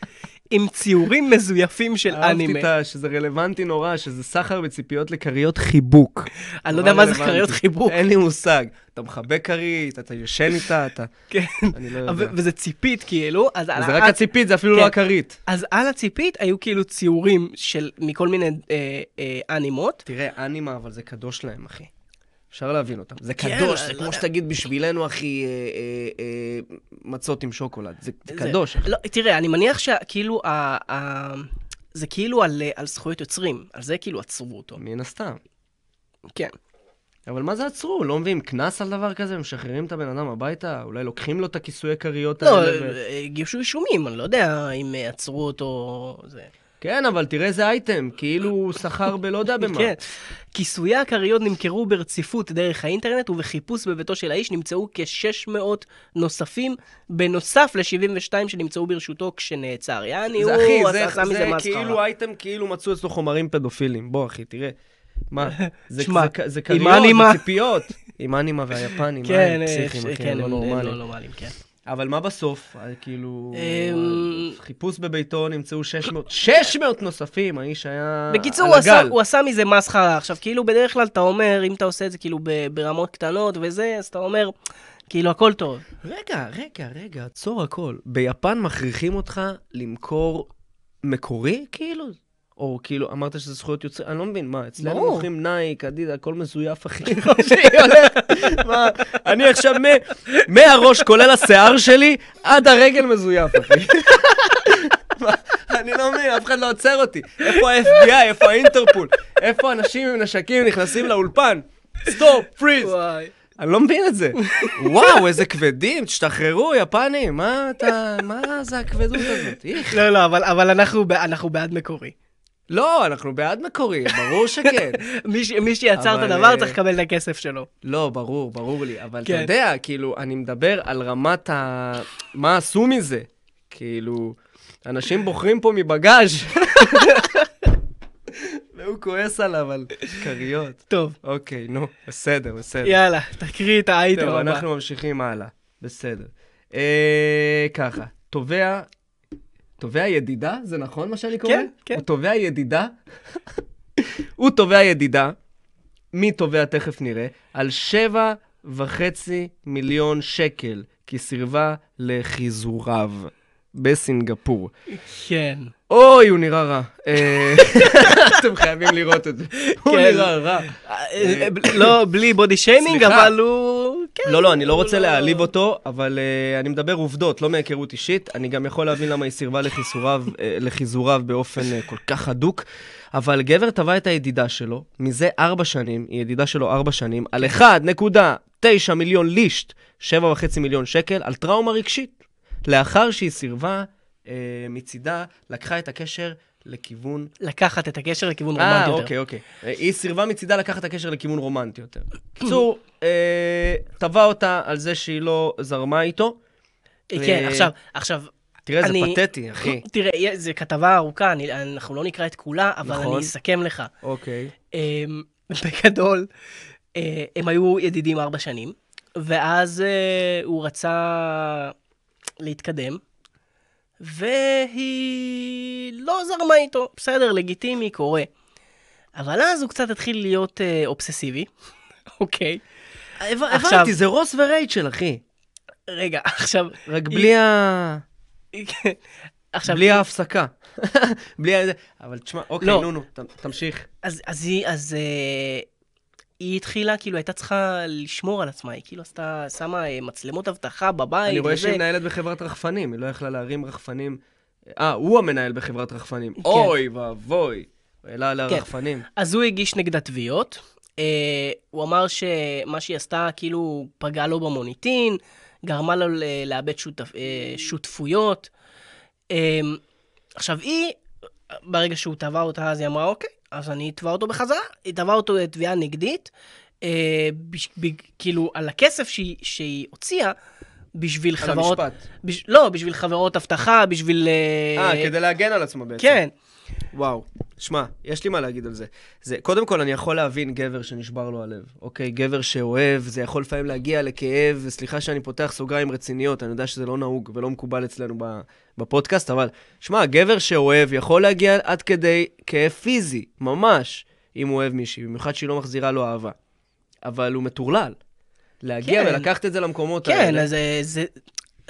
עם ציורים מזויפים של
אהבתי
אנימה.
את ה- שזה רלוונטי נורא, שזה סחר בציפיות לכריות חיבוק.
אני לא יודע
נורא
מה זה
רלוונטי.
כריות חיבוק.
אין לי מושג. אתה מחבק כרית, אתה ישן איתה, אתה...
כן. (laughs)
אני לא יודע.
ו- וזה ציפית כאילו, אז על
זה רק
ה-
הציפית, זה אפילו
כן.
לא הכרית.
אז על הציפית היו כאילו ציורים של מכל מיני אה, אה, אנימות.
תראה, אנימה, אבל זה קדוש להם, אחי. אפשר להבין אותם. זה
כן,
קדוש,
לא
זה
יודע.
כמו שתגיד בשבילנו, אחי, אה, אה, אה, מצות עם שוקולד. זה זה
זה-
קדוש, אחי.
לא, תראה, אני מניח שכאילו, ה- ה- זה כאילו על, אה, על זכויות יוצרים, על זה כאילו עצרו אותו.
מן הסתם.
כן.
אבל מה זה עצרו? לא מביאים קנס על דבר כזה? משחררים את הבן אדם הביתה? אולי לוקחים לו את הכיסויי כריות
לא,
האלה? ו-
אה, הגישו אישומים, אני לא יודע אם אה, עצרו אותו... זה.
כן, אבל תראה איזה אייטם, כאילו הוא שכר בלא
(laughs)
יודע במה.
כן. כיסויי הכריות נמכרו ברציפות דרך האינטרנט, ובחיפוש בביתו של האיש נמצאו כ-600 נוספים, בנוסף ל-72 שנמצאו ברשותו כשנעצר. יעני,
זה
הוא
אחי,
עשה- עשה
זה,
מזה
זה
מסחרה.
כאילו אייטם, כאילו מצאו אצלו חומרים פדופילים. בוא, אחי, תראה.
(laughs)
מה? זה,
שמע,
זה, זה
עם
כריות,
אנימה.
זה ציפיות. עם אנימה והיפנים, מה
כן,
הם
אה,
פסיכים,
אה,
אחי,
כן,
הם לא
הם- הם
נורמלים.
לא נורמלים, כן.
אבל מה בסוף? אה, כאילו...
אמ,
חיפוש בביתו נמצאו 600... 600 נוספים! האיש היה...
בקיצור,
אה, על
הוא עשה,
הגל.
הוא עשה מזה מסחרה. עכשיו, כאילו, בדרך כלל אתה אומר, אם אתה עושה את זה כאילו ב- ברמות קטנות וזה, אז אתה אומר, כאילו, הכל טוב.
רגע, רגע, רגע, עצור הכל. ביפן מכריחים אותך למכור מקורי, כאילו? או כאילו, אמרת שזה זכויות יוצרים, אני לא מבין, מה, אצלנו
ברור.
מוכרים נייק, אדידה, הכל מזויף,
(laughs)
אחי, (laughs) כמו שהיא הולכת. מה, אני עכשיו מ- מהראש, כולל השיער שלי, עד הרגל מזויף, אחי. (laughs) מה, אני לא מבין, אף אחד לא עוצר אותי. איפה ה-FBI, איפה האינטרפול? איפה אנשים עם נשקים נכנסים לאולפן? סטופ, פריז.
וואי.
אני לא מבין את זה. (laughs) וואו, איזה כבדים, תשתחררו, יפנים, מה אתה, מה זה הכבדות הזאת? איך?
לא, לא, אבל, אבל אנחנו, ב- אנחנו בעד מקורי.
לא, אנחנו בעד מקורי, ברור (laughs) שכן.
מי, ש- מי שיצר את
אבל,
הדבר
אה,
צריך לקבל את הכסף שלו.
לא, ברור, ברור לי, אבל אתה
כן.
יודע, כאילו, אני מדבר על רמת ה... מה עשו מזה? כאילו, אנשים בוחרים פה מבגאז'. (laughs) והוא כועס עליו על כריות.
טוב,
אוקיי, נו, בסדר, בסדר.
יאללה, תקריא את האייטם
כן. טוב,
הבא.
אנחנו ממשיכים הלאה. בסדר. אה, ככה, תובע... תובע ידידה? זה נכון מה שאני קורא?
כן, כן.
הוא תובע ידידה? (laughs) הוא תובע ידידה. מי תובע תכף נראה. על שבע וחצי מיליון שקל, כי סירבה לחיזוריו בסינגפור.
כן.
אוי, הוא נראה רע. אה, (laughs) אתם חייבים לראות את זה. הוא
כן.
נראה רע.
לא, אה, בלי בודי שיימינג,
אה, סליחה.
אבל הוא... כן.
לא, לא, אני לא
הוא
רוצה להעליב אותו, אבל אה, אני מדבר עובדות, לא מהיכרות אישית. אני גם יכול להבין למה היא סירבה לחיסוריו, אה, לחיזוריו באופן אה, כל כך הדוק. אבל גבר תבע את הידידה שלו, מזה ארבע שנים, היא ידידה שלו ארבע שנים, על 1.9 מיליון לישט, 7.5 מיליון שקל, על טראומה רגשית. לאחר שהיא סירבה, אה, מצידה, לקחה את הקשר לכיוון...
לקחת את הקשר לכיוון
אה,
רומנטי יותר.
אוקיי, אוקיי. אה, היא סירבה מצידה לקחת את הקשר לכיוון רומנטי יותר. בקיצור, אה, תבע אותה על זה שהיא לא זרמה איתו.
כן,
אה,
עכשיו, עכשיו,
תראה, זה
אני-
פתטי, אחי.
לא, תראה, זו כתבה ארוכה, אני- אנחנו לא נקרא את כולה, אבל
נכון.
אני אסכם לך.
אוקיי.
אמ, (laughs) בגדול, אה, הם היו ידידים ארבע שנים, ואז אה, הוא רצה להתקדם, והיא לא זרמה איתו, בסדר, לגיטימי, קורה. אבל אז הוא קצת התחיל להיות אה, אובססיבי, (laughs) אוקיי. עכשיו-
הבנתי, זה רוס ורייצ'ל, אחי.
רגע, עכשיו... (laughs)
רק
היא-
בלי ה...
עכשיו,
בלי ההפסקה. (laughs) בלי ה... אבל תשמע, אוקיי,
לא.
נו, נו, ת- תמשיך.
אז, אז היא, אז אה, היא התחילה, כאילו, הייתה צריכה לשמור על עצמה, היא כאילו עשתה, שמה אה, מצלמות אבטחה בבית.
אני רואה
וזה.
שהיא מנהלת בחברת רחפנים, היא לא יכלה להרים רחפנים. אה, הוא המנהל בחברת רחפנים. אוי ואבוי. הוא העלה עליה
כן.
רחפנים.
אז הוא הגיש נגדה תביעות. אה, הוא אמר שמה שהיא עשתה, כאילו, פגעה לו במוניטין, גרמה לו ל- לאבד שותף, אה, שותפויות. אה, עכשיו, היא, ברגע שהוא תבע אותה, אז היא אמרה, אוקיי, אז אני אתבע אותו בחזרה. היא תבעה אותו לתביעה נגדית, אה, בש, ב, כאילו, על הכסף שהיא, שהיא הוציאה, בשביל
על
חברות...
המשפט.
בש, לא, בשביל חברות אבטחה, בשביל...
אה, כדי להגן על עצמו בעצם.
כן.
וואו, שמע, יש לי מה להגיד על זה. זה. קודם כל, אני יכול להבין גבר שנשבר לו הלב. אוקיי, גבר שאוהב, זה יכול לפעמים להגיע לכאב, וסליחה שאני פותח סוגריים רציניות, אני יודע שזה לא נהוג ולא מקובל אצלנו ב- בפודקאסט, אבל שמע, גבר שאוהב יכול להגיע עד כדי כאב פיזי, ממש, אם הוא אוהב מישהי, במיוחד שהיא לא מחזירה לו אהבה. אבל הוא מטורלל. להגיע
כן.
ולקחת את זה למקומות
כן,
האלה.
אז אה, זה...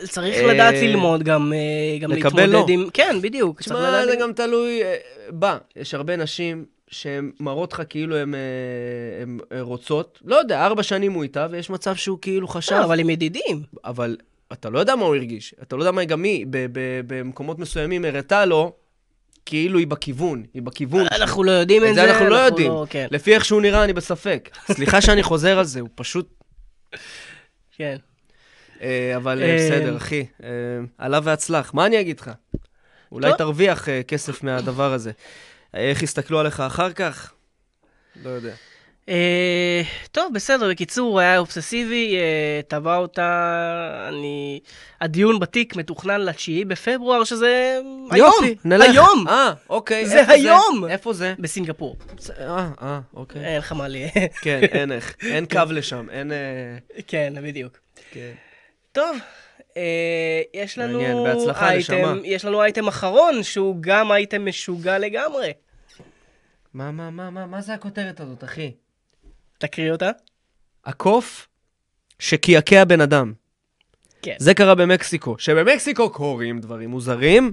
צריך
אה,
לדעת ללמוד גם, אה, גם
לקבל
להתמודד
לא.
עם... כן, בדיוק. צריך
תשמע,
לדעת-
זה גם תלוי אה, בה. יש הרבה נשים שהן מראות לך כאילו הן אה, הן, אה, רוצות. לא יודע, ארבע שנים הוא איתה, ויש מצב שהוא כאילו חשב,
לא, אבל עם ידידים.
אבל אתה לא יודע מה הוא הרגיש. אתה לא יודע מה גם היא, ב- ב- במקומות מסוימים הראתה לו, כאילו היא בכיוון, היא בכיוון.
אנחנו לא יודעים
את זה אנחנו לא יודעים.
כן,
לפי איך שהוא נראה, אני בספק. סליחה שאני חוזר על זה, הוא פשוט...
כן.
אה, אבל אה,
אה,
בסדר, אחי. אה, עלה והצלח. מה אני אגיד לך? אולי
טוב.
תרוויח אה, כסף מהדבר הזה. אה, איך יסתכלו עליך אחר כך? לא יודע.
אה, טוב, בסדר, בקיצור, היה אובססיבי, אה, תבע אותה, אני... הדיון בתיק מתוכנן לתשיעי בפברואר, שזה היום,
יופי, נלך.
היום,
אה, אוקיי.
זה
איפה
היום!
איפה זה?
בסינגפור.
אה, אה, אוקיי.
אין לך מה ל... (laughs)
כן, אין איך. אין קו לשם, אין... אה,
כן, בדיוק.
כן.
טוב, אה, יש לנו
מעניין, בהצלחה, נשמה.
אייטם, יש לנו אייטם אחרון, שהוא גם אייטם משוגע לגמרי.
מה, מה, מה, מה, מה זה הכותרת הזאת, אחי?
תקריא אותה.
הקוף שקעקע בן אדם.
כן.
זה קרה במקסיקו. שבמקסיקו קורים דברים מוזרים,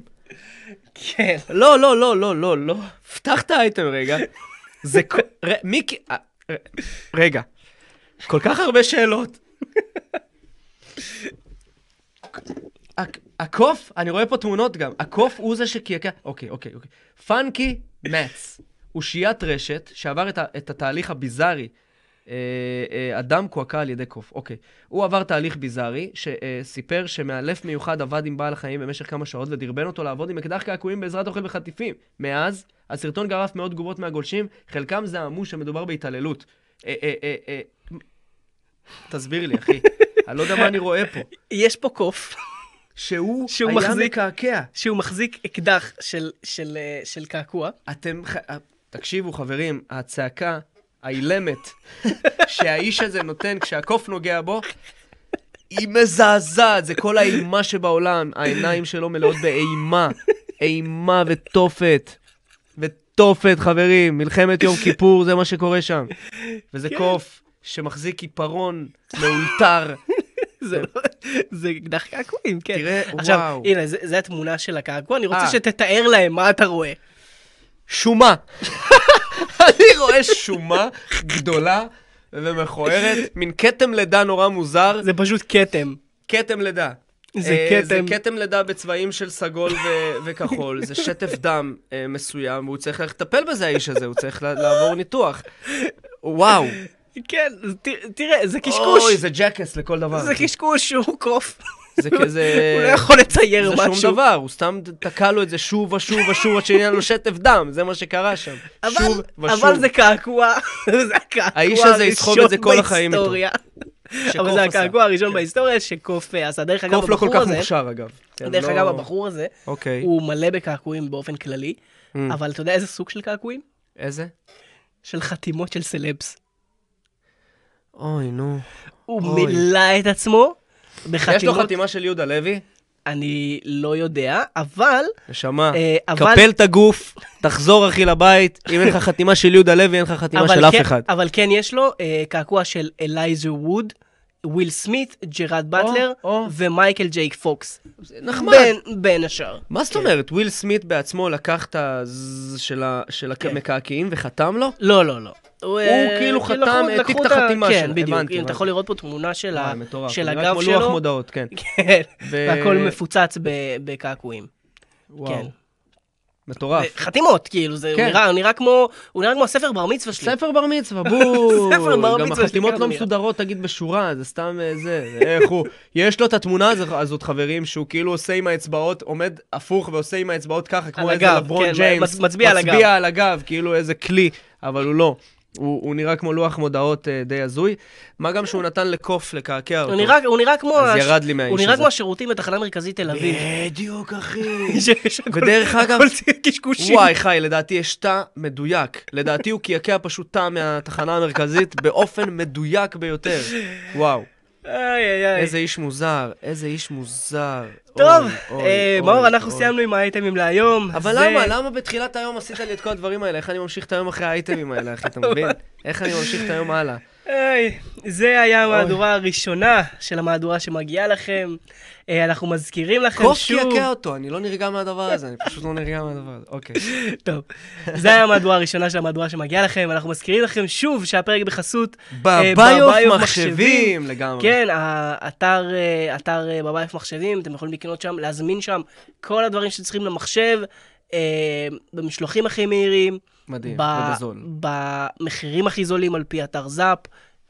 כן.
לא, לא, לא, לא, לא, לא. פתח את האייטם רגע. זה... כל- ר- מי... כ- אה, ר- רגע. כל כך הרבה שאלות. הק- הקוף, אני רואה פה תמונות גם, הקוף הוא זה שקעקע... אוקיי, אוקיי, אוקיי. פאנקי מאץ. אושיית רשת שעבר את, ה, את התהליך הביזארי. אה, אה, אדם קועקע על ידי קוף, אוקיי. הוא עבר תהליך ביזארי, שסיפר שמאלף מיוחד עבד עם בעל החיים במשך כמה שעות ודרבן אותו לעבוד עם אקדח קעקועים בעזרת אוכל וחטיפים. מאז, הסרטון גרף מאות תגובות מהגולשים, חלקם זעמו שמדובר בהתעללות. אה, אה, אה, אה, תסביר לי, אחי. אני לא יודע מה אני רואה פה.
יש פה קוף
שהוא,
שהוא
היה
מחזיק-
מקעקע.
שהוא מחזיק אקדח של, של, אה, של קעקוע.
אתם... ח- אה, תקשיבו, חברים, הצעקה האילמת שהאיש הזה נותן כשהקוף נוגע בו, היא מזעזעת, זה כל האימה שבעולם. העיניים שלו מלאות באימה, אימה ותופת. ותופת, חברים, מלחמת יום כיפור, זה מה שקורה שם. וזה
כן.
קוף שמחזיק עיפרון מאולתר.
זה, לא- זה אקדח קעקועים, כן.
תראה,
עכשיו,
וואו.
הנה, זה, זה התמונה של הקעקוע, אני רוצה
אה.
שתתאר להם מה אתה רואה.
שומה. אני רואה שומה גדולה ומכוערת, מין כתם לידה נורא מוזר,
זה פשוט כתם.
כתם לידה.
זה
אה,
כתם.
זה כתם לידה בצבעים של סגול ו- וכחול, זה שטף דם אה, מסוים, והוא צריך ללכת לטפל בזה, האיש הזה, הוא צריך לה- לעבור ניתוח. וואו.
כן, אז ת- תראה, זה קשקוש.
אוי, זה ג'קס לכל דבר.
זה קשקוש, הוא קוף.
זה כזה...
הוא לא יכול לצייר
זה
משהו.
שום דבר, הוא סתם תקע לו את זה שוב ושוב ושוב עד שנהיה לו שטף דם, זה מה שקרה שם.
אבל-
שוב
אבל
ושוב.
זה קעקוע, (laughs) זה הקעקוע
האיש הזה יסחוב את זה
הראשון
כל החיים איתו.
בהיסטוריה.
שקוף
אבל זה
עשה. כן.
הקעקוע הראשון בהיסטוריה שקוף אה, עשה. דרך אגב,
קוף לא כל
הבחור
כך
הזה,
מוכשר, אגב. כן,
דרך
לא-
אגב, הבחור הזה,
אוקיי.
הוא מלא בקעקועים באופן כללי,
Mm.
אבל אתה יודע איזה סוג של קעקועים?
איזה?
של חתימות של סלבס.
אוי, נו.
הוא
אוי.
מילא את עצמו
יש לו
בחתימות,
חתימה של יהודה לוי?
אני לא יודע, אבל,
נשמה,
אה, אבל,
קפל את הגוף, תחזור אחי לבית, אם אין לך חתימה של יהודה לוי, אין לך חתימה
אבל
של אף
כן-
אחד.
אבל כן יש לו אה, קעקוע של אלייזר ווד, וויל סמית, ג'רד באטלר
או.
ומייקל ג'ייק פוקס.
נחמד.
בין- בין השאר.
מה זאת אומרת? וויל סמית בעצמו לקח את הז של ה- של
כן.
המקעקעים וחתם לו?
לא, לא, לא. הוא
כאילו חתם,
לקחו-
העתיק
לקחו
את החתימה
כן,
שלו.
כן, בדיוק.
הבנתי,
אם אתה
הבנתי.
יכול לראות פה תמונה של ה-
וואי, מטורף.
של
הוא נראה
הגב
כמו לוח
שלו.
מודעות, כן.
(laughs) כן,
ו-
והכל מפוצץ ב- בקעקועים.
וואו,
כן.
מטורף.
חתימות, כאילו, זה הוא
כן.
נראה- הוא נראה כמו, הוא נראה כמו הספר בר מצווה שלי.
ספר בר
(laughs)
מצווה, בואו.
ספר בר
גם
מצווה,
החתימות
שתקרא
לא
זה נראה.
מסודרות, תגיד בשורה, זה סתם אה, זה. זה איך הוא, יש לו את התמונה הזו- הזאת, חברים, שהוא כאילו עושה עם האצבעות, עומד הפוך ועושה עם האצבעות ככה, כמו
על
איזה
הגב,
לברון
כן,
ג'יימס.
מצ- מצביע על הגב.
מצביע על הגב, כאילו איזה כלי, אבל הוא לא. הוא הוא נראה כמו לוח מודעות אה, די הזוי. מה גם שהוא נתן לקוף לקעקע אותו.
הוא נראה- הוא נראה כמו...
אז
הש-
ירד לי מהאיש
הוא נראה
הזה.
כמו השירותים בתחנה המרכזית תל אביב.
בדיוק, אחי.
(laughs) שהכל-
ודרך אגב-
הכל זה קשקושים.
וואי, חי, לדעתי יש תא מדויק. לדעתי הוא קעקע פשוט תא מהתחנה המרכזית באופן מדויק ביותר. וואו,
איי, איי, איי.
איזה איש מוזר, איזה איש מוזר.
אוקיי. טוב,
אוי, אוי,
אה,
אוי,
מאור, אנחנו
אוי.
סיימנו עם האייטמים להיום. אה,
אבל
זה-
למה, למה בתחילת היום עשית לי את כל הדברים האלה? איך אני ממשיך את היום אחרי האייטמים האלה, אחי, אתה
(laughs)
מבין? איך אני ממשיך את היום הלאה?
כן, היי, זה היה
אוי.
המהדורה הראשונה של המהדורה שמגיעה לכם. אה, אנחנו מזכירים לכם
קוף
שוב...
קעקע אותו, אני לא נרגע מהדבר הזה, אני פשוט לא נרגע מהדבר הזה. אוקיי.
(laughs) טוב, זה היה המהדורה הראשונה של המהדורה שמגיעה לכם. אנחנו מזכירים לכם שוב שהפרק בחסות... אה,
בביוף
בביוף
מחשבים לגמרי.
כן, האתר, אה, אתר אה, בבייף מחשבים, אתם יכולים לקנות שם, להזמין שם כל הדברים שצריכים למחשב, אה, במשלוחים הכי מהירים,
מדהים,
ב-
ובזול.
במחירים הכי זולים על פי אתר זאפ,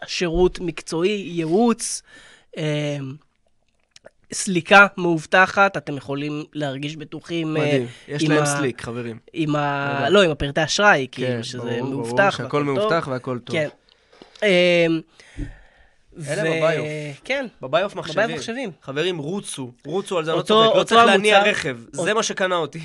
שירות מקצועי, ייעוץ, אה, סליקה מאובטחת, אתם יכולים להרגיש בטוחים אה,
מדהים. יש
עם
להם
ה-
סליק, חברים.
עם ה...
לגמרי.
לא, עם הפרטי אשראי,
כן,
כאילו, שזה
ברור,
מאובטח.
ברור
והכל
שהכל
טוב.
מאובטח והכל טוב.
כן. אה,
אלה
ו-
בביוף.
כן.
בביוף מחשבים.
בביוף מחשבים.
חברים, רוצו, רוצו על זה, אני לא
אותו-
צוחק, לא
אותו
צריך להניע
המוצר-
רכב, זה מה שקנה אותי.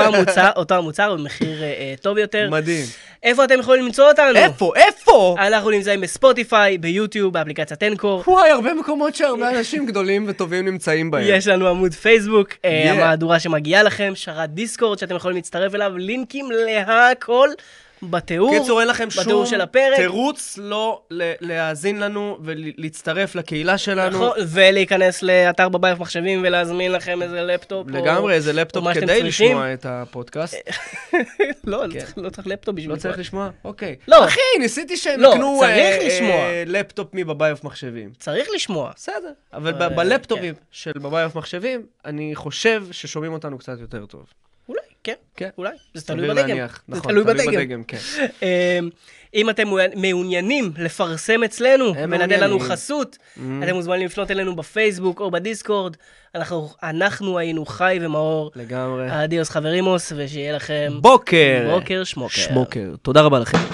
(laughs)
המוצר, אותו המוצר במחיר אה, אה, טוב יותר.
מדהים.
איפה אתם יכולים למצוא אותנו?
איפה, איפה?
אנחנו נמצאים בספוטיפיי, ביוטיוב, באפליקציית אנקור.
וואי, הרבה מקומות שהרבה אנשים גדולים וטובים נמצאים בהם.
יש לנו עמוד פייסבוק, yeah.
Yeah.
המהדורה שמגיעה לכם, שרת דיסקורד שאתם יכולים להצטרף אליו, לינקים להכל בתיאור.
קיצור, אין לכם
בתיאור
שום
של הפרק.
תירוץ לא ל- להאזין לנו ולהצטרף לקהילה שלנו.
נכון, ולהיכנס לאתר בבית מחשבים ולהזמין לכם איזה לפטופ. או-
לגמרי, איזה לפטופ
מה שאתם
כדי
צריכים.
לשמוע את הפודקאסט.
(laughs) לא, לא צריך- לא צריך לפטופ בשביל
לא
זה.
צריך לשמוע? אוקיי.
לא.
אחי, ניסיתי שהם
לא,
יקנו
צריך
אה, אה,
לשמוע.
לפטופ מבביוף מחשבים.
צריך לשמוע.
בסדר, אבל
אבל,
ב-
אה,
בלפטופים של בביוף מחשבים, אני חושב ששומעים אותנו קצת יותר טוב.
אולי, כן,
כן.
אולי. זה תלוי
סביר
בדגם.
להניח.
זה
נכון,
תלוי בדגם.
כן.
אמ, אם אתם מעוניינים לפרסם אצלנו
הם
ולתת לנו
מעוניינים. Mm-hmm.
חסות, אתם מוזמנים לפנות אלינו בפייסבוק או בדיסקורד. אנחנו- אנחנו היינו חי ומאור.
לגמרי.
אדיוס חברימוס, ושיהיה לכם
בוקר.
בוקר שמוקר.
שמוקר. תודה רבה לכם.